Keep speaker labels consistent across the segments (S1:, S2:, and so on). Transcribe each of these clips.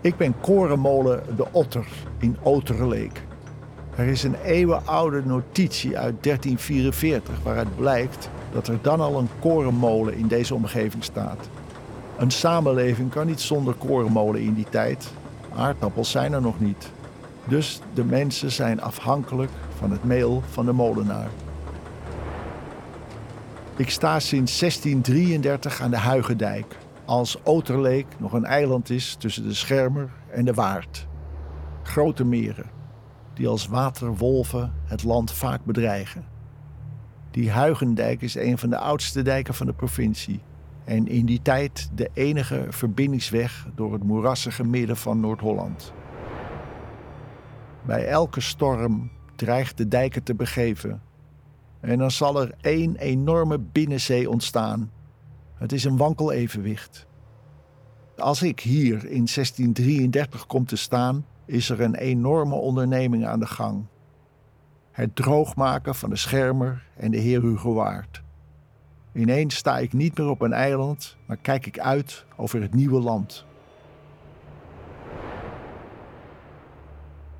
S1: Ik ben Korenmolen de Otter in Oterleek. Er is een eeuwenoude notitie uit 1344 waaruit blijkt dat er dan al een korenmolen in deze omgeving staat. Een samenleving kan niet zonder korenmolen in die tijd. Aardappels zijn er nog niet. Dus de mensen zijn afhankelijk van het meel van de molenaar. Ik sta sinds 1633 aan de Huigendijk, als Oterleek nog een eiland is tussen de Schermer en de Waard. Grote meren, die als waterwolven het land vaak bedreigen. Die Huigendijk is een van de oudste dijken van de provincie en in die tijd de enige verbindingsweg door het moerassige midden van Noord-Holland. Bij elke storm dreigt de dijken te begeven. En dan zal er één enorme binnenzee ontstaan. Het is een wankel evenwicht. Als ik hier in 1633 kom te staan, is er een enorme onderneming aan de gang. Het droogmaken van de Schermer en de Heer Hugowaard. Ineens sta ik niet meer op een eiland, maar kijk ik uit over het nieuwe land.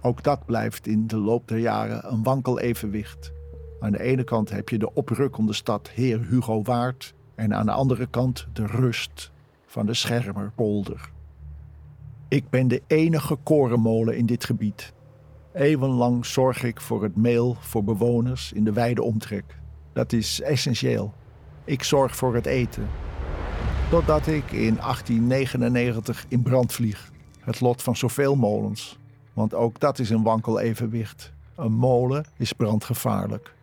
S1: Ook dat blijft in de loop der jaren een wankel evenwicht. Aan de ene kant heb je de oprukkende stad Heer Hugo Waard en aan de andere kant de rust van de Schermerpolder. Ik ben de enige korenmolen in dit gebied. Eeuwenlang zorg ik voor het meel voor bewoners in de wijde omtrek. Dat is essentieel. Ik zorg voor het eten. Totdat ik in 1899 in brand vlieg. Het lot van zoveel molens. Want ook dat is een wankel evenwicht. Een molen is brandgevaarlijk.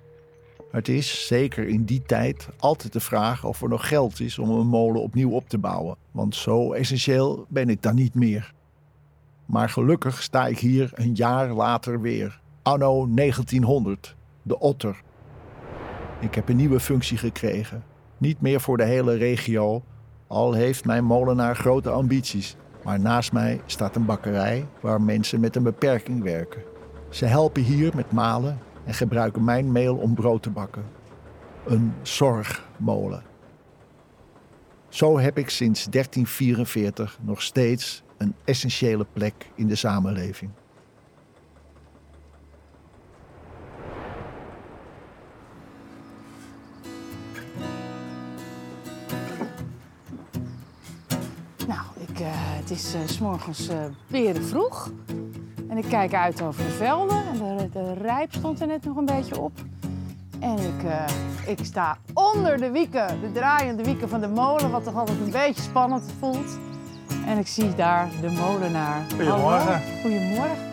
S1: Het is, zeker in die tijd, altijd de vraag of er nog geld is om een molen opnieuw op te bouwen. Want zo essentieel ben ik dan niet meer. Maar gelukkig sta ik hier een jaar later weer. Anno 1900, de otter. Ik heb een nieuwe functie gekregen. Niet meer voor de hele regio, al heeft mijn molenaar grote ambities. Maar naast mij staat een bakkerij waar mensen met een beperking werken. Ze helpen hier met malen en gebruiken mijn meel om brood te bakken. Een zorgmolen. Zo heb ik sinds 1344 nog steeds een essentiële plek in de samenleving.
S2: Nou, ik, eh, het is eh, 's s'morgens eh beren vroeg. En ik kijk uit over de velden. En de, de rijp stond er net nog een beetje op. En ik, eh, ik sta onder de wieken, de draaiende wieken van de molen, wat toch altijd een beetje spannend voelt. En ik zie daar de molenaar.
S3: Goedemorgen.
S2: Hallo. Goedemorgen.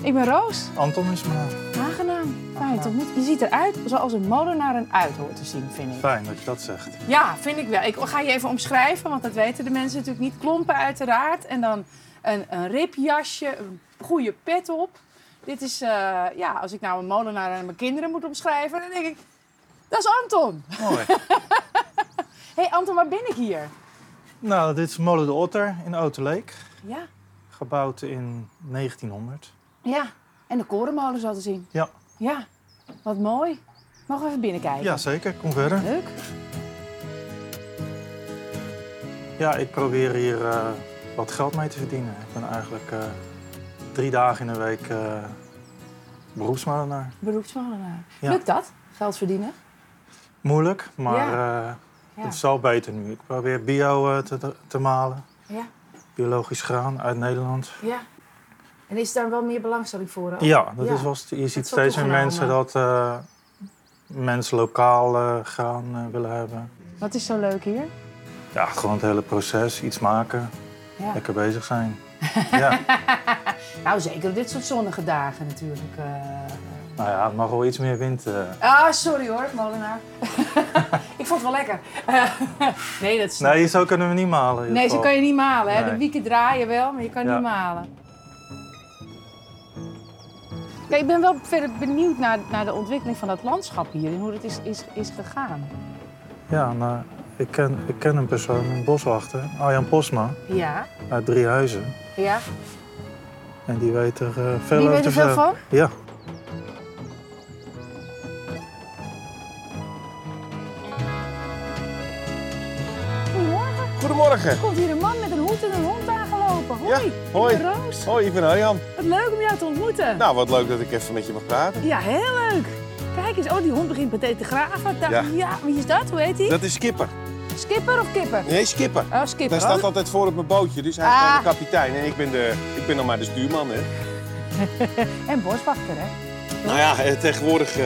S2: Ik ben Roos,
S3: Anton is maar
S2: aangenaam. Fijn te ontmoeten. Je ziet eruit zoals een molenaar eruit hoort te zien, vind ik.
S3: fijn dat je dat zegt.
S2: Ja, vind ik wel. Ik ga je even omschrijven, want dat weten de mensen natuurlijk niet. Klompen uiteraard en dan een, een ripjasje, een goede pet op. Dit is, eh, ja, als ik nou een molenaar aan mijn kinderen moet omschrijven, dan denk ik, dat is Anton.
S3: Mooi.
S2: Hé hey Anton, waar ben ik hier?
S3: nou, dit is Molen de Otter in Oterleek.
S2: Ja,
S3: Gebouwd in 1900.
S2: ja. En de korenmolen zo te zien.
S3: Ja.
S2: Ja, wat mooi. Mogen we even binnenkijken?
S3: Ja, zeker. Kom verder.
S2: Leuk.
S3: Ja, ik probeer hier eh, wat geld mee te verdienen. Ik ben eigenlijk eh, drie dagen in de week eh beroepsmolenaar.
S2: Beroepsmolenaar.
S3: Ja.
S2: Lukt dat? Geld verdienen?
S3: Moeilijk, maar eh,
S2: Ja.
S3: het is al beter nu. Ik probeer bio eh, te, te malen.
S2: Ja.
S3: Biologisch graan uit Nederland.
S2: ja. En is daar wel meer belangstelling voor? hè?
S3: Ja, dat
S2: Ja.
S3: is wel, st- je ziet
S2: is wel
S3: steeds meer
S2: toegenomen.
S3: mensen dat eh, mensen lokaal eh, gaan eh, willen hebben.
S2: Wat is zo leuk hier?
S3: Ja, gewoon het hele proces, iets maken,
S2: Ja.
S3: lekker bezig zijn. ja,
S2: Nou, zeker op dit soort zonnige dagen natuurlijk. eh.
S3: nou ja, het mag wel iets meer wind. eh.
S2: Ah, sorry hoor, molenaar. ik vond het wel lekker. nee, dat is
S3: Nee, zo kunnen we niet malen. in
S2: nee,
S3: ieder
S2: zo kan je niet malen. Hè? De
S3: Nee.
S2: wieken draaien wel, maar je kan
S3: Ja.
S2: niet malen. Kijk, ik ben wel verder benieuwd naar, naar de ontwikkeling van dat landschap hier en hoe dat is, is, is gegaan.
S3: geval. Ja, nou, ik ken, ik ken een persoon, een boswachter, Arjan Posma,
S2: Ja,
S3: uit Driehuizen.
S2: ja.
S3: En die weet er eh, veel
S2: Wie
S3: over
S2: weet
S3: te
S2: er veel
S3: vertellen.
S2: van?
S3: Ja.
S2: Goedemorgen.
S4: Goedemorgen.
S2: Er komt hier een man met een hoed en een hond aangelopen. hoi.
S4: hoi.
S2: Ik ben Roos.
S4: Hoi, ik ben Arjan.
S2: Wat leuk om jou te ontmoeten.
S4: Nou, wat leuk dat ik even met je mag praten.
S2: Ja, heel leuk. Kijk eens, oh, die hond begint meteen te graven. Daar-
S4: Ja.
S2: ja, wie is dat? Hoe heet hij?
S4: Dat is Skipper.
S2: Skipper of kipper?
S4: Nee, Skipper.
S2: Oh, skipper.
S4: Hij staat altijd voor op mijn bootje, dus hij is
S2: Ah.
S4: gewoon de kapitein. En ik ben, de, ik ben dan maar de stuurman, hè.
S2: En boswachter, hè?
S4: Nou ja, eh, tegenwoordig eh,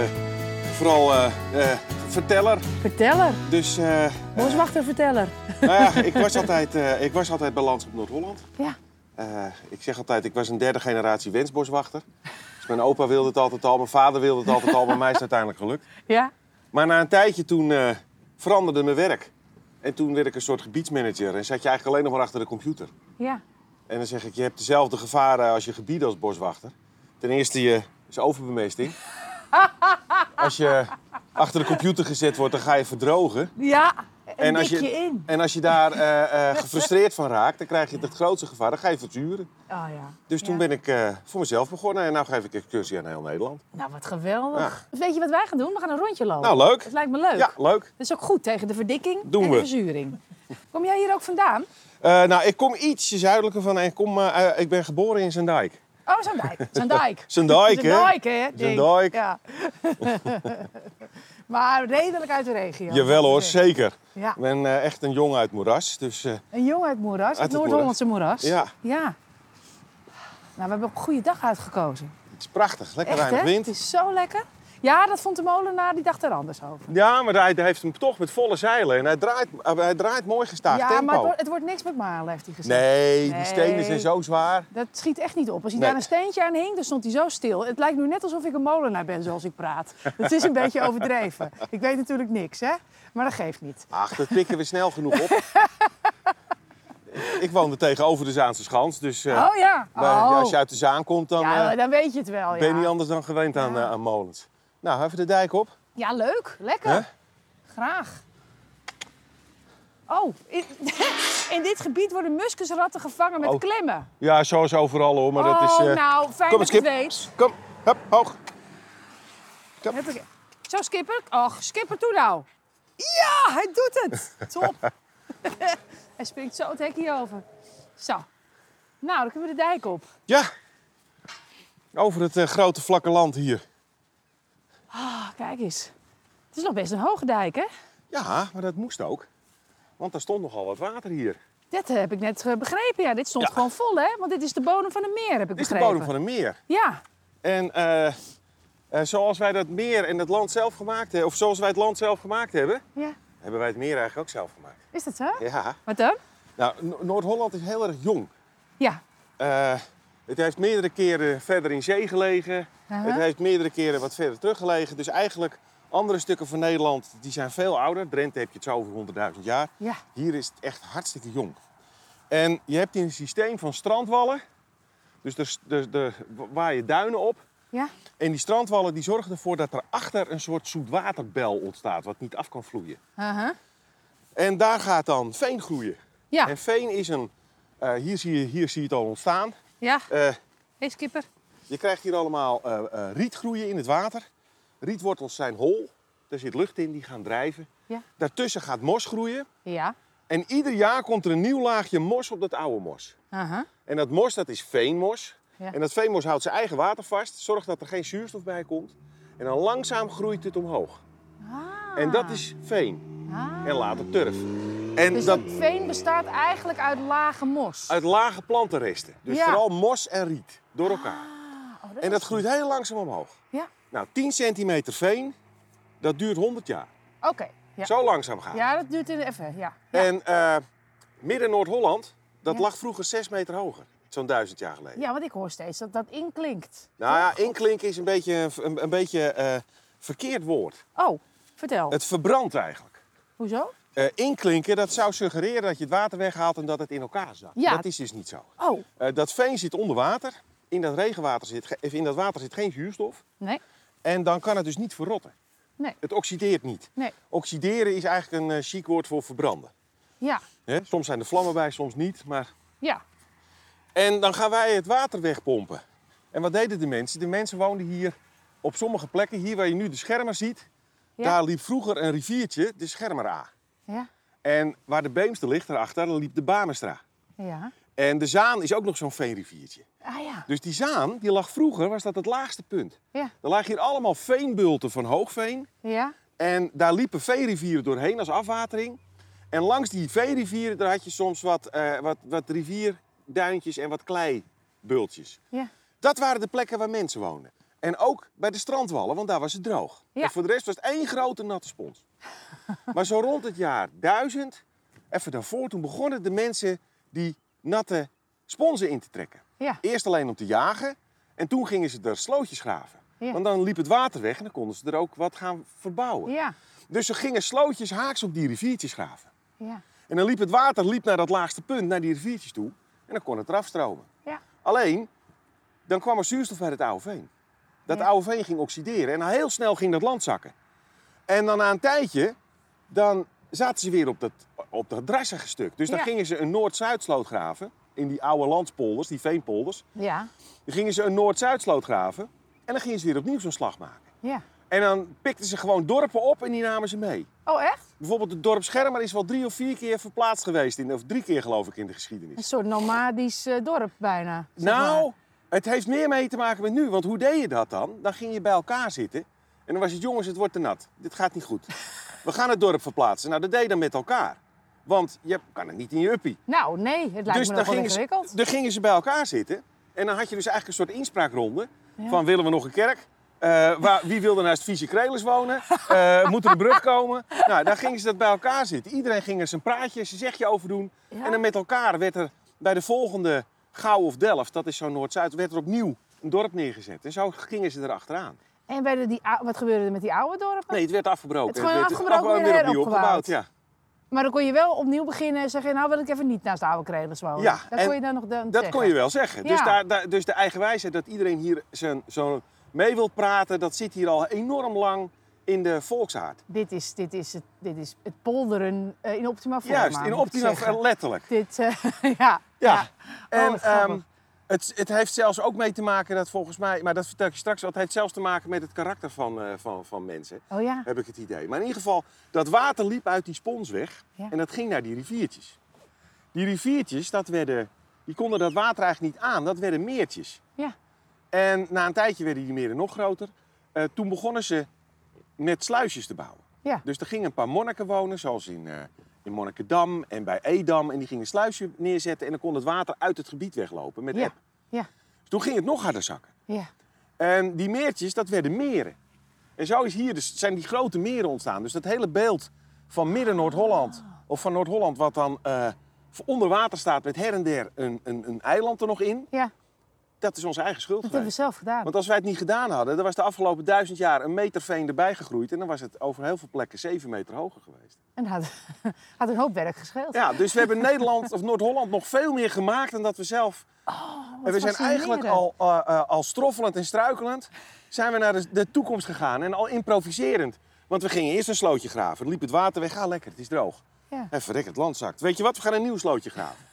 S4: vooral eh, eh, verteller.
S2: Verteller.
S4: Dus, eh, eh,
S2: Boswachter, verteller.
S4: nou ja, ik was altijd, eh, ik was altijd bij Lans op Noord-Holland.
S2: Ja.
S4: Eh, ik zeg altijd, ik was een derde generatie wensboswachter. Dus mijn opa wilde het altijd al, mijn vader wilde het altijd al, maar mij is het uiteindelijk gelukt.
S2: Ja.
S4: Maar na een tijdje toen eh, veranderde mijn werk. En toen werd ik een soort gebiedsmanager en zat je eigenlijk alleen nog maar achter de computer.
S2: Ja.
S4: En dan zeg ik, je hebt dezelfde gevaren als je gebied als boswachter. Ten eerste je is overbemesting. Als je achter de computer gezet wordt, dan ga je verdrogen.
S2: Ja. En
S4: als
S2: dik
S4: je,
S2: je in.
S4: en als je daar eh, eh, gefrustreerd van raakt, dan krijg je het grootste gevaar, dan ga je verzuren.
S2: Oh ja.
S4: Dus toen
S2: Ja.
S4: ben ik eh, voor mezelf begonnen en nu geef ik excursie aan heel Nederland.
S2: Nou, wat geweldig. Dus Weet je wat wij gaan doen? We gaan een rondje lopen.
S4: Nou, leuk.
S2: Dat lijkt me leuk.
S4: Ja, leuk.
S2: Dat is ook goed tegen de verdikking
S4: Doen
S2: en
S4: we.
S2: de verzuring. Kom jij hier ook vandaan?
S4: Eh, nou, ik kom ietsje zuidelijker van en ik, kom, eh, eh, ik ben geboren in Zendijk.
S2: Oh, Zandijk. Zandijk.
S4: Zendijk, hè?
S2: Zandijk, hè? Ding.
S4: Zandijk.
S2: Ja. maar redelijk uit de regio.
S4: Jawel hoor, zeker.
S2: Ja.
S4: Ik ben eh, echt een jong uit moeras, dus eh,
S2: Een jongen uit moeras, het
S4: Uit het
S2: Noord-Hollandse moeras.
S4: Ja.
S2: ja. Nou, we hebben een goede dag uitgekozen.
S4: het is prachtig. Lekker
S2: Echt, hè?
S4: weinig wind.
S2: Het is zo lekker. Ja, dat vond de molenaar, die dacht er anders over.
S4: Ja, maar hij heeft hem toch met volle zeilen en hij draait, eh, hij draait mooi gestaag
S2: ja,
S4: tempo.
S2: maar het wordt, het wordt niks met malen, heeft hij gezegd.
S4: Nee,
S2: Nee.
S4: die stenen zijn zo zwaar.
S2: Dat schiet echt niet op. Als hij
S4: Nee.
S2: daar een steentje aan hing, dan stond hij zo stil. Het lijkt nu net alsof ik een molenaar ben, zoals ik praat. Dat is een beetje overdreven. Ik weet natuurlijk niks, hè? Maar dat geeft niet.
S4: Ach, dat pikken we snel genoeg op. Ik- ik woonde tegenover de Zaanse Schans, dus eh,
S2: oh ja.
S4: maar
S2: oh.
S4: als je uit de Zaan komt, dan
S2: ja,
S4: eh,
S2: dan weet je het wel.
S4: ben je
S2: ja.
S4: niet anders dan gewend aan, eh, aan molens. Nou, even de dijk op.
S2: Ja, leuk. Lekker.
S4: Hè?
S2: Graag. Oh, in, in dit gebied worden muskusratten gevangen met
S4: Oh.
S2: klemmen.
S4: Ja, zo is overal hoor, maar dat is...
S2: oh,
S4: eh,
S2: nou, fijn
S4: kom
S2: dat
S4: eens,
S2: je het
S4: Kip.
S2: weet.
S4: Kom, hup, hoog.
S2: Heb ik... Zo, Skipper. Och, Skipper, toe nou. Ja, hij doet het. Top. hij springt zo het hekje over. Zo. Nou, dan kunnen we de dijk op.
S4: Ja, over het eh, grote vlakke land hier.
S2: Ah, kijk eens. Het is nog best een hoge dijk, hè?
S4: Ja, maar dat moest ook. Want er stond nogal wat water hier.
S2: Dat heb ik net eh, begrepen. Ja, dit stond
S4: Ja.
S2: gewoon vol, hè? Want dit is de bodem van een meer, heb ik
S4: Dit is de
S2: begrepen.
S4: bodem van een meer.
S2: Ja.
S4: En eh, eh, zoals wij dat meer en het land zelf gemaakt hebben, of zoals wij het land zelf gemaakt hebben,
S2: ja.
S4: hebben wij het meer eigenlijk ook zelf gemaakt.
S2: Is dat zo?
S4: Ja.
S2: Wat dan?
S4: Nou, No- Noord-Holland is heel erg jong.
S2: Ja.
S4: Eh, het heeft meerdere keren verder in zee gelegen.
S2: Aha.
S4: Het heeft meerdere keren wat verder teruggelegen. Dus eigenlijk andere stukken van Nederland die zijn veel ouder. Drenthe heb je het zo over 100.000 jaar.
S2: Ja.
S4: Hier is het echt hartstikke jong. En je hebt hier een systeem van strandwallen. Dus er, er, er waaien duinen op.
S2: Ja.
S4: En die strandwallen die zorgen ervoor dat er achter een soort zoetwaterbel ontstaat. Wat niet af kan vloeien.
S2: Aha.
S4: En daar gaat dan veen groeien.
S2: Uh-huh. Ja.
S4: En veen is een... eh, hier, zie je, hier zie je het al ontstaan.
S2: Ja.
S4: Eh,
S2: Hey, Skipper.
S4: je krijgt hier allemaal eh eh, riet groeien in het water. Rietwortels zijn hol. Daar zit lucht in, die gaan drijven.
S2: Ja.
S4: Daartussen gaat mos groeien.
S2: Ja.
S4: En ieder jaar komt er een nieuw laagje mos op dat oude mos.
S2: Aha.
S4: En dat mos, dat is veenmos.
S2: Ja.
S4: En dat veenmos houdt zijn eigen water vast, zorgt dat er geen zuurstof bij komt. En dan langzaam groeit het omhoog.
S2: Ah.
S4: En dat is veen.
S2: Ah.
S4: En later turf. En
S2: Dus
S4: dat
S2: dat veen bestaat eigenlijk uit lage mos.
S4: uit lage plantenresten. Dus
S2: Ja.
S4: vooral mos en riet, door elkaar.
S2: Ah, oh,
S4: En dat
S2: is-
S4: groeit heel langzaam omhoog.
S2: Ja.
S4: Nou, 10 centimeter veen, dat duurt 100 jaar.
S2: Oké. Ja.
S4: Zo langzaam gaat het.
S2: ja, dat duurt even. Ja. Ja.
S4: En eh, midden Noord-Holland, dat
S2: Ja.
S4: lag vroeger 6 meter hoger. Zo'n duizend jaar geleden.
S2: ja, want ik hoor steeds dat dat inklinkt.
S4: Nou ja, inklinken is een beetje een, een beetje, eh, verkeerd woord.
S2: Oh, vertel.
S4: Het verbrandt eigenlijk.
S2: Hoezo?
S4: Eh, inklinken, dat zou suggereren dat je het water weghaalt en dat het in elkaar zakt.
S2: Ja.
S4: Dat is dus niet zo.
S2: Oh,
S4: Eh, dat veen zit onder water. In dat, regenwater zit, ge- of in dat water zit geen zuurstof.
S2: nee.
S4: En dan kan het dus niet verrotten.
S2: Nee.
S4: Het oxideert niet.
S2: Nee.
S4: Oxideren is eigenlijk een eh, chic woord voor verbranden.
S2: Ja.
S4: Hè? Soms zijn er vlammen bij, soms niet. Maar...
S2: Ja.
S4: En dan gaan wij het water wegpompen. En wat deden de mensen? De mensen woonden hier op sommige plekken. Hier waar je nu de schermer ziet,
S2: Ja.
S4: daar liep vroeger een riviertje, de Schermer A.
S2: Ja.
S4: En waar de Beemster ligt, daarachter, daar liep de Bamestra.
S2: Ja.
S4: En de Zaan is ook nog zo'n veenriviertje.
S2: Ah ja,
S4: Dus die Zaan, die lag vroeger, was dat het laagste punt.
S2: ja,
S4: Er lagen hier allemaal veenbulten van hoogveen.
S2: ja.
S4: En daar liepen veerivieren doorheen als afwatering. En langs die veerivieren daar had je soms wat, eh, wat, wat rivierduintjes en wat kleibultjes.
S2: ja.
S4: Dat waren de plekken waar mensen woonden. En ook bij de strandwallen, want daar was het droog.
S2: Ja.
S4: En voor de rest was het één grote natte spons. maar zo rond het jaar 1000, even daarvoor, toen begonnen de mensen die natte sponsen in te trekken.
S2: ja.
S4: Eerst alleen om te jagen en toen gingen ze er slootjes graven.
S2: Ja.
S4: Want dan liep het water weg en dan konden ze er ook wat gaan verbouwen.
S2: Ja,
S4: Dus ze gingen slootjes haaks op die riviertjes graven.
S2: ja,
S4: En dan liep het water liep naar dat laagste punt, naar die riviertjes toe. En dan kon het eraf stromen.
S2: ja,
S4: Alleen, dan kwam er zuurstof uit het oude veen. Dat
S2: Ja.
S4: oude veen ging oxideren en heel snel ging dat land zakken. En dan na een tijdje, dan zaten ze weer op dat, op dat drassige stuk. Dus dan
S2: Ja.
S4: gingen ze een Noord-Zuidsloot graven. In die oude landspolders, die veenpolders.
S2: ja,
S4: Dan gingen ze een Noord-Zuidsloot graven. En dan gingen ze weer opnieuw zo'n slag maken.
S2: ja.
S4: En dan pikten ze gewoon dorpen op en die namen ze mee.
S2: Oh, echt?
S4: Bijvoorbeeld het dorp Schermer is wel drie of vier keer verplaatst geweest. In, of drie keer geloof ik in de geschiedenis.
S2: Een soort nomadisch eh, dorp bijna. zeg
S4: Nou,
S2: maar.
S4: het heeft meer mee te maken met nu. Want hoe deed je dat dan? Dan ging je bij elkaar zitten. En dan was het, jongens, het wordt te nat. Dit gaat niet goed. We gaan het dorp verplaatsen. Nou, dat deed je dan met elkaar. Want je kan het niet in je uppie.
S2: Nou, nee, het lijkt me nog wel
S4: gingen ze,
S2: ingewikkeld.
S4: Dus dan gingen ze bij elkaar zitten. En dan had je dus eigenlijk een soort inspraakronde.
S2: Ja.
S4: Van willen we nog een kerk? Eh, waar, wie wil er naast Vieze Krelers wonen? Eh, moet er een brug komen? Nou, daar gingen ze dat bij elkaar zitten. Iedereen ging er zijn praatje, zijn zegje over doen.
S2: Ja.
S4: En dan met elkaar werd er bij de volgende Gouw of Delft, dat is zo Noord-Zuid, werd er opnieuw een dorp neergezet. En zo gingen ze erachteraan.
S2: En bij de, die, ou- wat gebeurde er met die oude dorpen?
S4: Nee, het werd afgebroken.
S2: Oh. Het is gewoon
S4: werd
S2: afgebroken en weer heropgebouwd.
S4: Ja.
S2: Maar dan kon je wel opnieuw beginnen en zeggen, nou wil ik even niet naast de oude kredels wonen.
S4: Ja,
S2: dat
S4: en
S2: kon je dan nog dan
S4: Dat
S2: zeggen.
S4: kon je wel zeggen. Dus,
S2: Ja.
S4: daar, daar, dus de eigenwijsheid dat iedereen hier zijn, zo mee wil praten, dat zit hier al enorm lang in de volksaard.
S2: Dit is, dit is, het, dit is het polderen eh, in optima forma.
S4: Juist, in
S2: moet ik
S4: optima
S2: zeggen.
S4: letterlijk.
S2: Dit, eh, ja.
S4: Ja.
S2: Oh,
S4: En
S2: wat grappig.
S4: ehm, het, het heeft zelfs ook mee te maken dat volgens mij, maar dat vertel ik je straks wel, het heeft zelfs te maken met het karakter van, eh, van, van mensen,
S2: Oh ja,
S4: heb ik het idee. Maar in ieder geval, dat water liep uit die spons weg
S2: Ja.
S4: en dat ging naar die riviertjes. Die riviertjes, dat werden, die konden dat water eigenlijk niet aan, dat werden meertjes.
S2: ja,
S4: En na een tijdje werden die meren nog groter. Eh, toen begonnen ze met sluisjes te bouwen.
S2: Ja.
S4: Dus er gingen een paar monniken wonen, zoals in, eh, in Monnikendam en bij Edam. En die gingen een sluisje neerzetten en dan kon het water uit het gebied weglopen met
S2: Ja.
S4: eb.
S2: Ja.
S4: Dus toen ging het nog harder zakken.
S2: ja.
S4: En die meertjes, dat werden meren. En zo is hier dus, zijn die grote meren ontstaan. Dus dat hele beeld van midden Noord-Holland, of van Noord-Holland, wat dan eh, onder water staat met her en der een, een, een eiland er nog in.
S2: ja.
S4: Dat is onze eigen schuld
S2: Dat hebben
S4: geweest.
S2: we zelf gedaan.
S4: Want als wij het niet gedaan hadden, dan was de afgelopen duizend jaar een meter veen erbij gegroeid. En dan was het over heel veel plekken zeven meter hoger geweest.
S2: En had, had een hoop werk gescheeld.
S4: Ja, dus we hebben Nederland of Noord-Holland nog veel meer gemaakt dan dat we zelf. en we zijn eigenlijk al, eh, eh, al stroffelend en struikelend zijn we naar de, de toekomst gegaan. En al improviserend. Want we gingen eerst een slootje graven. Dan liep het water weg. Ah, lekker, het is droog.
S2: Ja.
S4: En verrek, het land zakt. Weet je wat, we gaan een nieuw slootje graven.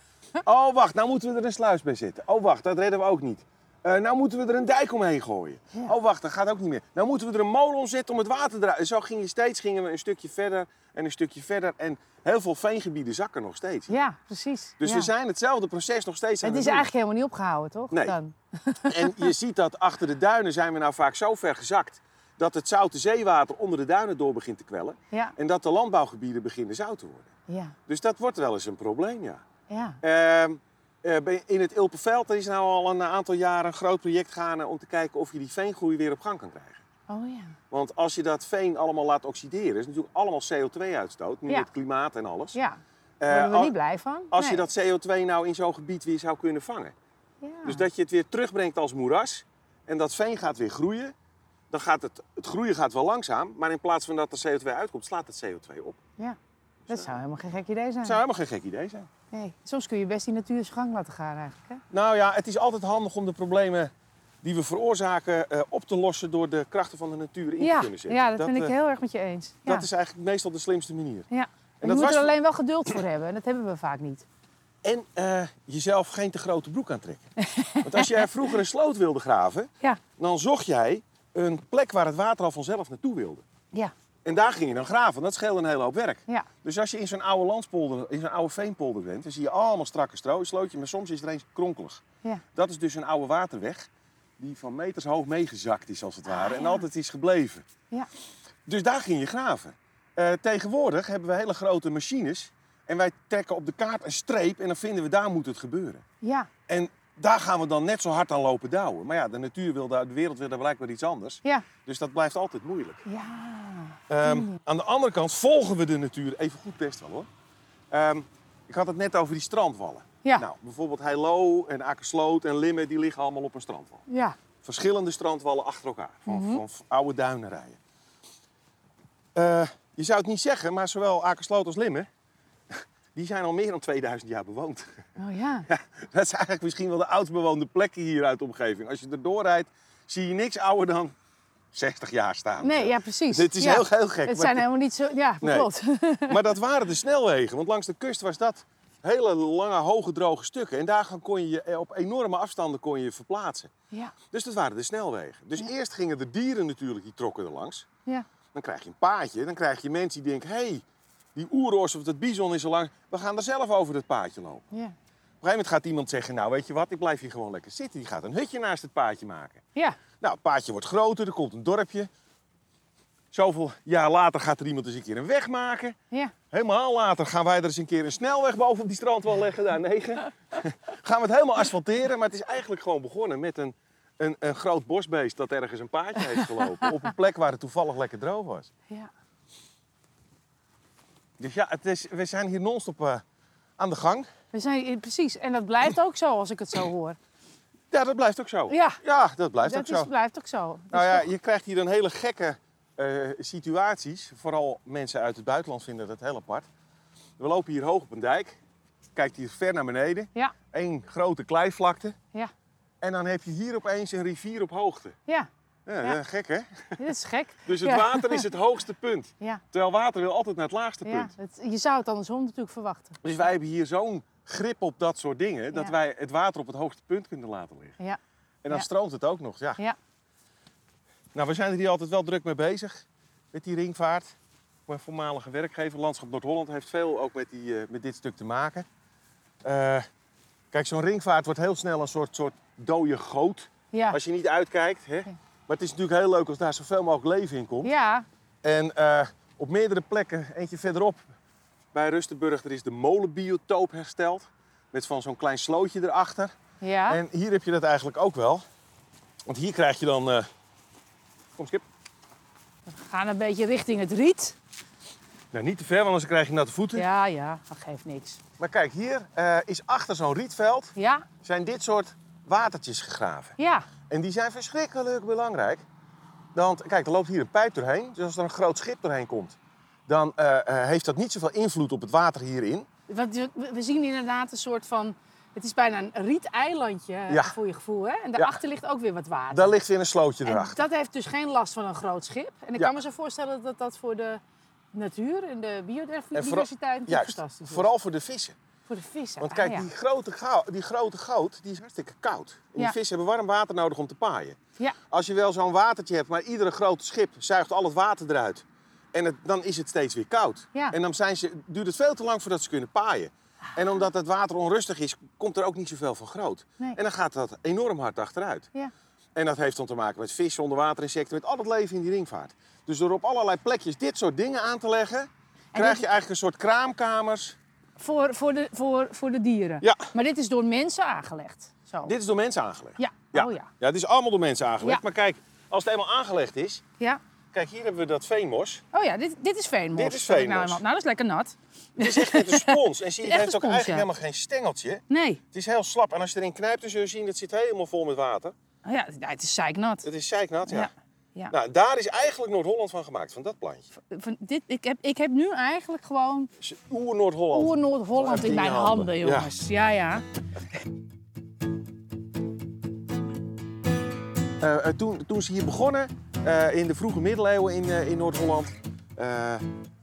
S4: Oh, wacht, nou moeten we er een sluis bij zetten. Oh, wacht, dat redden we ook niet. Eh, nou moeten we er een dijk omheen gooien. Oh, wacht, dat gaat ook niet meer. Nou moeten we er een molen om zetten om het water eruit. En zo ging je steeds, gingen we een stukje verder en een stukje verder. En heel veel veengebieden zakken nog steeds.
S2: Ja, precies.
S4: Dus
S2: ja.
S4: we zijn hetzelfde proces nog steeds aan
S2: Het is
S4: het doen.
S2: eigenlijk helemaal niet opgehouden, toch?
S4: Nee.
S2: Dan?
S4: En je ziet dat achter de duinen zijn we nou vaak zo ver gezakt... dat het zoute zeewater onder de duinen door begint te kwellen.
S2: Ja,
S4: En dat de landbouwgebieden beginnen zout te worden.
S2: ja,
S4: Dus dat wordt wel eens een probleem, ja.
S2: ja.
S4: Ehm, eh, bij- in het Ilpenveld er is nou al een aantal jaren een groot project gaande om te kijken of je die veengroei weer op gang kan krijgen.
S2: Oh ja.
S4: Want als je dat veen allemaal laat oxideren, is natuurlijk allemaal CO2-uitstoot, nu
S2: Ja.
S4: het klimaat en alles.
S2: Ja,
S4: Eh,
S2: daar worden we
S4: al-
S2: niet blij van.
S4: als je
S2: Nee. Ah.
S4: dat CO2 nou in zo'n gebied weer zou kunnen vangen.
S2: Ja.
S4: Dus dat je het weer terugbrengt als moeras en dat veen gaat weer groeien. Dan gaat het, het groeien gaat wel langzaam, maar in plaats van dat er CO2 uitkomt, slaat het CO2 op.
S2: ja. Dat zou helemaal geen gek idee zijn.
S4: Dat zou helemaal geen gek idee zijn.
S2: Nee. Soms kun je best die natuur zijn gang laten gaan eigenlijk. Hè?
S4: Nou ja, het is altijd handig om de problemen die we veroorzaken eh, op te lossen door de krachten van de natuur in te
S2: Ja,
S4: kunnen zetten.
S2: ja, dat, vind ik
S4: eh,
S2: heel erg met je eens. Ja.
S4: Dat is eigenlijk meestal de slimste manier.
S2: ja. En je
S4: dat
S2: moet
S4: was-
S2: er alleen wel geduld voor hebben. En dat hebben we vaak niet.
S4: En eh, jezelf geen te grote broek aantrekken. Want als jij vroeger een sloot wilde graven,
S2: Ja,
S4: dan zocht jij een plek waar het water al vanzelf naartoe wilde.
S2: ja.
S4: En daar ging je dan graven. Dat scheelde een hele hoop werk.
S2: Ja.
S4: Dus als je in zo'n oude landspolder, in zo'n oude veenpolder bent, dan zie je allemaal strakke strooislootjes, maar soms is er eens kronkelig.
S2: Ja.
S4: Dat is dus een oude waterweg die van meters hoog meegezakt is als het ware en altijd is gebleven.
S2: Ah, Ja.
S4: Dus daar ging je graven. Eh, tegenwoordig hebben we hele grote machines en wij trekken op de kaart een streep en dan vinden we daar moet het gebeuren.
S2: Ja.
S4: En daar gaan we dan net zo hard aan lopen douwen. Maar ja, de natuur wil daar, de wereld wil daar blijkbaar iets anders.
S2: Ja.
S4: Dus dat blijft altijd moeilijk.
S2: Ja.
S4: Ehm,
S2: Mm.
S4: aan de andere kant volgen we de natuur even goed best wel hoor. Ehm, ik had het net over die strandwallen.
S2: Ja.
S4: Nou, bijvoorbeeld Heilo en Akersloot en Limmen, die liggen allemaal op een strandwal.
S2: Ja.
S4: Verschillende strandwallen achter elkaar, van,
S2: Mhm.
S4: van oude duinenrijen. Eh, je zou het niet zeggen, maar zowel Akersloot als Limmen, die zijn al meer dan 2000 jaar bewoond.
S2: Oh ja.
S4: Dat is eigenlijk misschien wel de oudst bewoonde plekken hier uit de omgeving. Als je erdoor rijdt, zie je niks ouder dan 60 jaar staan.
S2: Nee, ja, precies.
S4: Dit is
S2: Ja.
S4: heel, heel gek.
S2: Het
S4: maar-
S2: zijn helemaal niet zo... Ja,
S4: Nee.
S2: klopt.
S4: maar dat waren de snelwegen, want langs de kust was dat hele lange, hoge, droge stukken. En daar kon je je eh, op enorme afstanden kon je je verplaatsen.
S2: Ja.
S4: Dus dat waren de snelwegen. Dus eerst gingen de dieren natuurlijk, die trokken er langs.
S2: Ja.
S4: Dan krijg je een paadje, dan krijg je mensen die denken... hé, hey, die oeros of dat bison is al lang, we gaan er zelf over dat paadje lopen.
S2: Ja.
S4: Op een gegeven moment gaat iemand zeggen, nou weet je wat, ik blijf hier gewoon lekker zitten. Die gaat een hutje naast het paadje maken.
S2: Ja.
S4: Nou, het paadje wordt groter, er komt een dorpje. Zoveel jaar later gaat er iemand eens een keer een weg maken.
S2: Ja.
S4: Helemaal later gaan wij er eens een keer een snelweg bovenop die strandwal leggen, daar negen. gaan we het helemaal asfalteren, maar het is eigenlijk gewoon begonnen met een, een, een groot bosbeest dat ergens een paadje heeft gelopen. op een plek waar het toevallig lekker droog was.
S2: Ja.
S4: Dus ja, het is, we zijn hier non-stop eh, aan de gang.
S2: We zijn, precies. En dat blijft ook zo, als ik het zo hoor.
S4: Ja, dat blijft ook zo.
S2: Ja.
S4: dat blijft
S2: dat
S4: ook zo.
S2: Is, blijft ook zo. Dat
S4: Nou
S2: is
S4: ja,
S2: toch-
S4: je krijgt hier dan hele gekke eh, situaties. Vooral mensen uit het buitenland vinden dat heel apart. We lopen hier hoog op een dijk. Kijkt hier ver naar beneden.
S2: Ja.
S4: Eén grote kleivlakte.
S2: Ja.
S4: En dan heb je hier opeens een rivier op hoogte.
S2: Ja.
S4: Ja,
S2: Ja.
S4: eh, gek hè?
S2: Dit is gek.
S4: Dus het
S2: Ja.
S4: water is het hoogste punt.
S2: Ja.
S4: Terwijl water wil altijd naar het laagste
S2: Ja,
S4: punt.
S2: het- je zou het andersom natuurlijk verwachten.
S4: Dus wij hebben hier zo'n grip op dat soort dingen... dat
S2: Ja.
S4: wij het water op het hoogste punt kunnen laten liggen.
S2: Ja.
S4: En dan
S2: Ja.
S4: stroomt het ook nog, ja.
S2: Ja.
S4: Nou, we zijn er hier altijd wel druk mee bezig. Met die ringvaart. Mijn voormalige werkgever, Landschap Noord-Holland, heeft veel ook met, die, eh, met dit stuk te maken. Eh, kijk, zo'n ringvaart wordt heel snel een soort, soort dode goot.
S2: Ja.
S4: Als je niet uitkijkt. Hè? Maar het is natuurlijk heel leuk als daar zoveel mogelijk leven in komt.
S2: Ja.
S4: En eh, op meerdere plekken, eentje verderop bij Rustenburg, er is de molenbiotoop hersteld. Met van zo'n klein slootje erachter.
S2: Ja.
S4: En hier heb je dat eigenlijk ook wel. Want hier krijg je dan... eh, Kom, Skip.
S2: We gaan een beetje richting het riet.
S4: Nou, niet te ver, want anders krijg je natte voeten.
S2: Ja, ja. Dat geeft niks.
S4: Maar kijk, hier eh, is achter zo'n rietveld
S2: Ja.
S4: zijn dit soort watertjes gegraven.
S2: Ja.
S4: En die zijn verschrikkelijk belangrijk. Want kijk, er loopt hier een pijp doorheen. Dus als er een groot schip doorheen komt, dan eh, eh, heeft dat niet zoveel invloed op het water hierin.
S2: Want we- we zien inderdaad een soort van... Het is bijna een rieteilandje eh,
S4: Ja.
S2: voor je gevoel, hè? En daarachter ligt ook weer wat water.
S4: Daar ligt weer een slootje
S2: en
S4: erachter.
S2: dat heeft dus geen last van een groot schip. En ik
S4: Ja.
S2: kan me zo voorstellen dat dat voor de natuur en de biodiversiteit natuurlijk
S4: juist,
S2: fantastisch is.
S4: vooral voor de vissen.
S2: Voor de vissen.
S4: Want
S2: Ah,
S4: kijk,
S2: ja.
S4: die, grote goud, die grote goot die is hartstikke koud. En die
S2: Ja.
S4: vissen hebben warm water nodig om te paaien.
S2: Ja.
S4: Als je wel zo'n watertje hebt, maar iedere grote schip zuigt al het water eruit. En het, dan is het steeds weer koud.
S2: Ja.
S4: En dan zijn ze, duurt het veel te lang voordat ze kunnen paaien. En omdat het water onrustig is, komt er ook niet zoveel van groot.
S2: Nee.
S4: En dan gaat dat enorm hard achteruit.
S2: Ja.
S4: En dat heeft dan te maken met vissen, onderwaterinsecten, met al het leven in die ringvaart. Dus door op allerlei plekjes dit soort dingen aan te leggen, krijg
S2: dit-
S4: je eigenlijk een soort kraamkamers.
S2: Voor, voor, de, voor, voor de dieren.
S4: Ja.
S2: Maar dit is door mensen aangelegd. Zo.
S4: Dit is door mensen aangelegd.
S2: Ja. Oh ja.
S4: ja, het is allemaal door mensen aangelegd.
S2: Ja.
S4: Maar kijk, als het eenmaal aangelegd is,
S2: Ja.
S4: kijk hier hebben we dat veenmos.
S2: Oh ja, dit, dit is veenmos.
S4: Dit is
S2: zeg ik Nou,
S4: veenmos.
S2: helemaal. nou, dat is lekker nat.
S4: Het is echt met een spons. En zie
S2: Echt een
S4: je, het heeft ook
S2: spons,
S4: eigenlijk
S2: ja.
S4: helemaal geen stengeltje.
S2: Nee.
S4: Het is heel slap. En als je erin knijpt, dan zul je zien, dat zit helemaal vol met water.
S2: Oh ja, nou, het is zeiknat.
S4: Het is zeiknat, ja.
S2: Ja. Ja.
S4: Nou, daar is eigenlijk Noord-Holland van gemaakt, van dat plantje.
S2: Van dit, ik, heb, ik heb nu eigenlijk gewoon
S4: Dus Oer-Noord-Holland.
S2: Oer-Noord-Holland in mijn
S4: Handen.
S2: handen,
S4: Ja.
S2: jongens. Ja, ja.
S4: Eh, eh, toen, toen ze hier begonnen, eh, in de vroege middeleeuwen in, eh, in Noord-Holland, eh,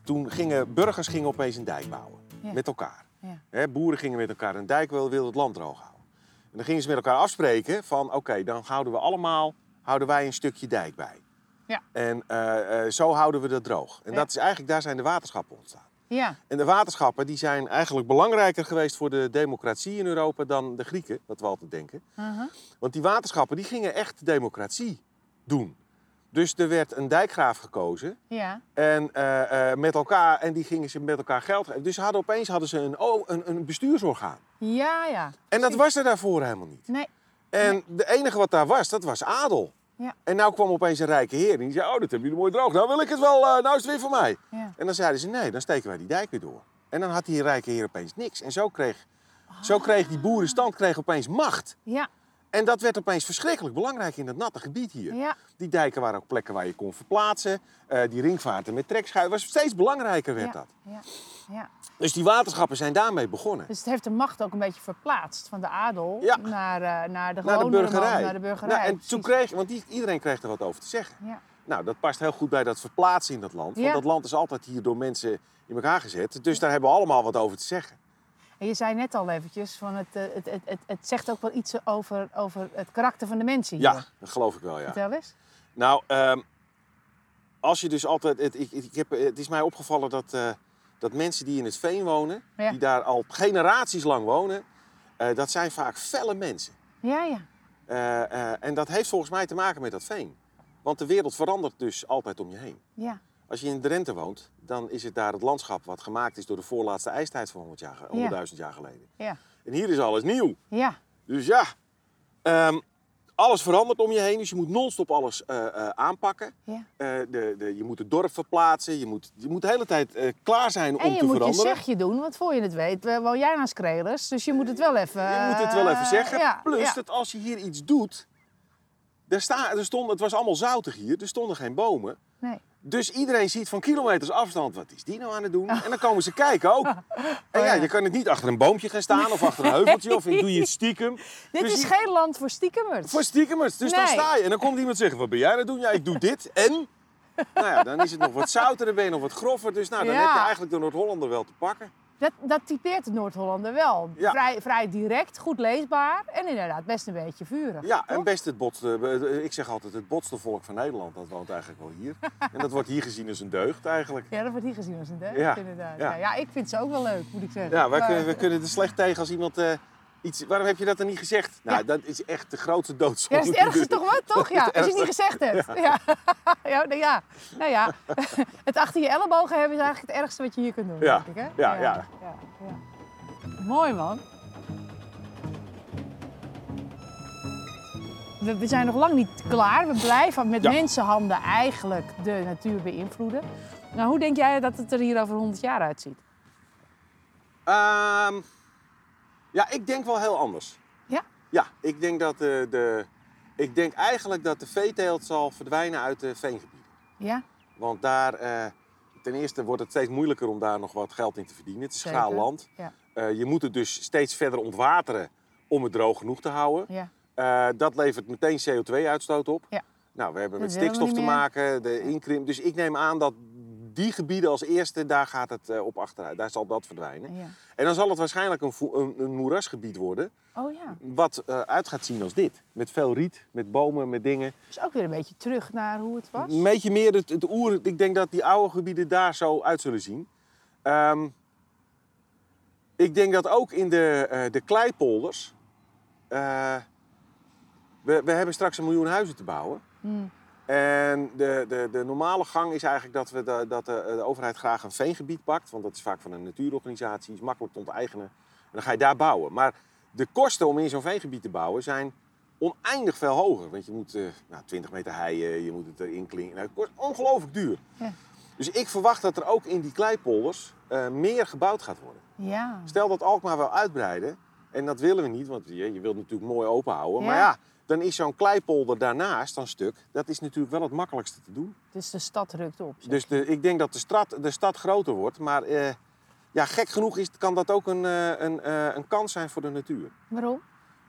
S4: toen gingen burgers gingen opeens een dijk bouwen.
S2: Ja.
S4: Met elkaar.
S2: Ja.
S4: Hè, boeren gingen met elkaar een dijk, wil- wilden het land droog houden. En dan gingen ze met elkaar afspreken van, oké, dan houden we allemaal, houden wij een stukje dijk bij.
S2: Ja.
S4: En eh, eh, zo houden we dat droog. En
S2: Ja.
S4: dat is eigenlijk, daar zijn de waterschappen ontstaan.
S2: Ja,
S4: En de waterschappen die zijn eigenlijk belangrijker geweest voor de democratie in Europa dan de Grieken, wat we altijd denken.
S2: aha.
S4: Want die waterschappen die gingen echt democratie doen. Dus er werd een dijkgraaf gekozen
S2: ja.
S4: en, eh, eh, met elkaar, en die gingen ze met elkaar geld geven. Dus ze hadden opeens hadden ze een, oh, een, een bestuursorgaan.
S2: Ja, ja.
S4: En dat was er daarvoor helemaal niet.
S2: Nee.
S4: En de enige wat daar was, dat was adel.
S2: Ja.
S4: En nou kwam opeens een rijke heer en die zei, oh, dat hebben jullie mooi droog. Nou wil ik het wel, eh, nou is het weer van mij.
S2: Ja.
S4: En dan zeiden ze, nee, dan steken wij die dijk weer door. En dan had die rijke heer opeens niks. En zo kreeg, zo kreeg die boerenstand kreeg opeens macht.
S2: Ja,
S4: En dat werd opeens verschrikkelijk belangrijk in dat natte gebied hier.
S2: ja.
S4: Die dijken waren ook plekken waar je kon verplaatsen. Eh, die ringvaarten met trekschuiven. was steeds belangrijker
S2: ja,
S4: werd dat.
S2: Ja, ja.
S4: Dus die waterschappen zijn daarmee begonnen.
S2: Dus het heeft de macht ook een beetje verplaatst van de adel
S4: Ja.
S2: naar, eh, naar de
S4: Naar
S2: gewone
S4: de burgerij.
S2: man, naar de burgerij.
S4: Nou, en toen
S2: precies.
S4: kreeg, want die, iedereen kreeg er wat over te zeggen.
S2: Ja,
S4: Nou, dat past heel goed bij dat verplaatsen in dat land. Want
S2: Ja.
S4: dat land is altijd hier door mensen in elkaar gezet. Dus daar hebben we allemaal wat over te zeggen.
S2: en je zei net al eventjes, van het, eh, het, het, het, het zegt ook wel iets over, over het karakter van de mensen hier.
S4: Ja, dat geloof ik wel, ja.
S2: Vertel eens.
S4: Nou, ehm, als je dus altijd... Het, ik, ik heb, het is mij opgevallen dat, eh, dat mensen die in het veen wonen...
S2: Ja.
S4: die daar al generaties lang wonen... eh, dat zijn vaak felle mensen.
S2: Ja, ja.
S4: Eh, eh, en dat heeft volgens mij te maken met dat veen. Want de wereld verandert dus altijd om je heen.
S2: Ja,
S4: Als je in Drenthe woont, dan is het daar het landschap... wat gemaakt is door de voorlaatste ijstijd van 100 jaar, 100.000 jaar geleden.
S2: ja.
S4: En hier is alles nieuw.
S2: Ja,
S4: Dus ja, ehm, alles verandert om je heen. Dus je moet non-stop alles eh, eh, aanpakken.
S2: ja.
S4: Eh, de, de, je moet het dorp verplaatsen. Je moet, je moet de hele tijd eh, klaar zijn om
S2: En je
S4: te
S2: moet
S4: veranderen.
S2: je zegje doen, want voor je het weet eh, woon jij naast Krelers, dus je moet het wel even...
S4: Je moet het wel even
S2: eh,
S4: zeggen.
S2: ja,
S4: Plus
S2: ja.
S4: dat als je hier iets doet... Er sta, er stond, het was allemaal zoutig hier. Er stonden geen bomen.
S2: Nee.
S4: Dus iedereen ziet van kilometers afstand, wat is die nou aan het doen? En dan komen ze kijken
S2: Oh,
S4: ook. En ja, je kan het niet achter een boompje gaan staan of achter een heuveltje. Of doe je het stiekem.
S2: Dit
S4: Dus
S2: is
S4: je-
S2: geen land voor stiekemers.
S4: Voor stiekemers. Dus dan
S2: Nee.
S4: sta je en dan komt iemand zeggen, wat ben jij aan het doen? Ja, ik doe dit en... Nou ja, dan is het nog wat zouter, dan ben je nog wat grover. Dus nou, dan
S2: Ja.
S4: heb je eigenlijk de Noord-Hollander wel te pakken.
S2: Dat, dat typeert de Noord-Hollander wel.
S4: Ja.
S2: Vrij, vrij direct, goed leesbaar en inderdaad best een beetje vurig.
S4: Ja,
S2: toch?
S4: en best het botste, ik zeg altijd, het botste volk van Nederland, dat woont eigenlijk wel hier. En dat wordt hier gezien als een deugd eigenlijk.
S2: Ja, dat wordt hier gezien als een deugd,
S4: Ja,
S2: inderdaad.
S4: ja.
S2: Ja. ja, ik vind ze ook wel leuk, moet ik zeggen.
S4: Ja, wij
S2: Maar-
S4: kunnen, we kunnen er slecht tegen als iemand eh, iets... Waarom heb je dat dan niet gezegd? Nou, dat is echt de grootste
S2: Ja,
S4: doodzonde.
S2: dat is het ergste toch wat, toch? Ja,
S4: het
S2: als je het niet gezegd hebt. Ja. Ja. nou ja, nou ja. Het achter je ellebogen hebben is eigenlijk het ergste wat je hier kunt doen,
S4: Ja,
S2: denk ik. Hè?
S4: ja, ja.
S2: ja, ja. Mooi, man. We, we zijn nog lang niet klaar. We blijven met
S4: Ja.
S2: mensenhanden eigenlijk de natuur beïnvloeden. Nou, hoe denk jij dat het er hier over 100 jaar uitziet?
S4: Ehm, ja, ik denk wel heel anders.
S2: Ja?
S4: Ja, ik denk, dat, eh, de, ik denk eigenlijk dat de veeteelt zal verdwijnen uit de veengebieden.
S2: Ja?
S4: Want daar, eh, ten eerste wordt het steeds moeilijker om daar nog wat geld in te verdienen. Het is
S2: Zeker,
S4: schraal land.
S2: ja.
S4: Eh, je moet het dus steeds verder ontwateren om het droog genoeg te houden.
S2: Ja.
S4: Eh, dat levert meteen CO2-uitstoot op.
S2: Ja.
S4: Nou, we hebben
S2: Dat
S4: met
S2: willen we
S4: stikstof
S2: niet
S4: te
S2: meer.
S4: maken, de inkrimp. Dus ik neem aan dat die gebieden als eerste, daar gaat het eh, op achteruit. Daar zal dat verdwijnen.
S2: ja.
S4: En dan zal het waarschijnlijk een, vo- een, een moerasgebied worden,
S2: Oh ja.
S4: wat eh, uit gaat zien als dit. Met veel riet, met bomen, met dingen.
S2: Dus ook weer een beetje terug naar hoe het was.
S4: Een beetje meer het, het oer. Ik denk dat die oude gebieden daar zo uit zullen zien. Ehm, ik denk dat ook in de, eh, de kleipolders. eh, we, we hebben straks een miljoen huizen te bouwen.
S2: Hmm.
S4: En de, de, de normale gang is eigenlijk dat, we de, dat de, de overheid graag een veengebied pakt. Want dat is vaak van een natuurorganisatie, is makkelijk te onteigenen. En dan ga je daar bouwen. Maar de kosten om in zo'n veengebied te bouwen zijn oneindig veel hoger. Want je moet eh, nou, 20 meter heien, je moet het erin klinken. Nou, het kost ongelooflijk duur.
S2: Ja.
S4: Dus ik verwacht dat er ook in die kleipolders eh, meer gebouwd gaat worden.
S2: Ja.
S4: Stel dat Alkmaar wil uitbreiden, en dat willen we niet, want je, je wilt natuurlijk mooi openhouden.
S2: Ja.
S4: Maar ja, dan is zo'n kleipolder daarnaast dan stuk, dat is natuurlijk wel het makkelijkste te doen.
S2: Dus de stad rukt op. zeg.
S4: Dus de, ik denk dat de stad, de stad groter wordt, maar eh, ja, gek genoeg is, kan dat ook een, eh, een, eh, een kans zijn voor de natuur.
S2: Waarom?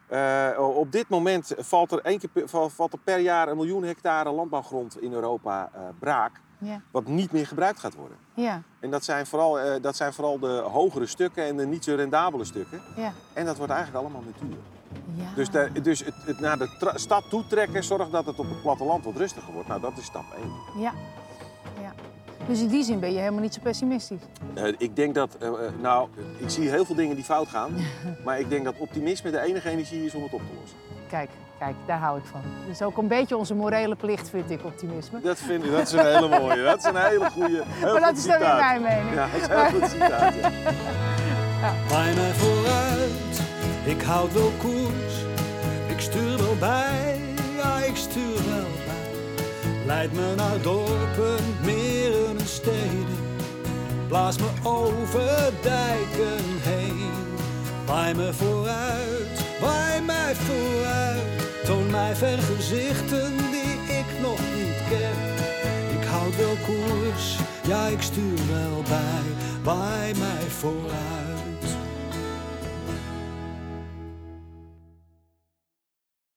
S4: Eh, op dit moment valt er, één keer, per- val- valt er per jaar een miljoen hectare landbouwgrond in Europa eh, braak,
S2: Ja.
S4: wat niet meer gebruikt gaat worden.
S2: Ja,
S4: En dat zijn, vooral, eh, dat zijn vooral de hogere stukken en de niet zo rendabele stukken.
S2: ja.
S4: En dat wordt eigenlijk allemaal natuur.
S2: Ja.
S4: Dus, de, dus het, het naar de tra- stad toe trekken, zorg dat het op het platteland wat rustiger wordt. Nou, dat is stap 1.
S2: Ja. ja. Dus in die zin ben je helemaal niet zo pessimistisch.
S4: Eh, ik denk dat, eh, eh, nou, ik zie heel veel dingen die fout gaan. maar ik denk dat optimisme de enige energie is om het op te lossen.
S2: Kijk, kijk, daar hou ik van. Dus ook een beetje onze morele plicht, vind ik, optimisme.
S4: Dat vind ik, dat is een hele mooie. Dat is een hele goede.
S2: Maar dat is dan weer mijn mening.
S4: Ja, dat is een heel goed citaat. ja.
S5: Bij mij vooruit, ik houd wel koers. Ik stuur wel bij, ja, ik stuur wel bij. Leid me naar dorpen, meren en steden. Blaas me over dijken heen. Waai me vooruit, waai mij vooruit. Toon mij vergezichten die ik nog niet ken. Ik houd wel koers, ja, ik stuur wel bij. Waai mij vooruit.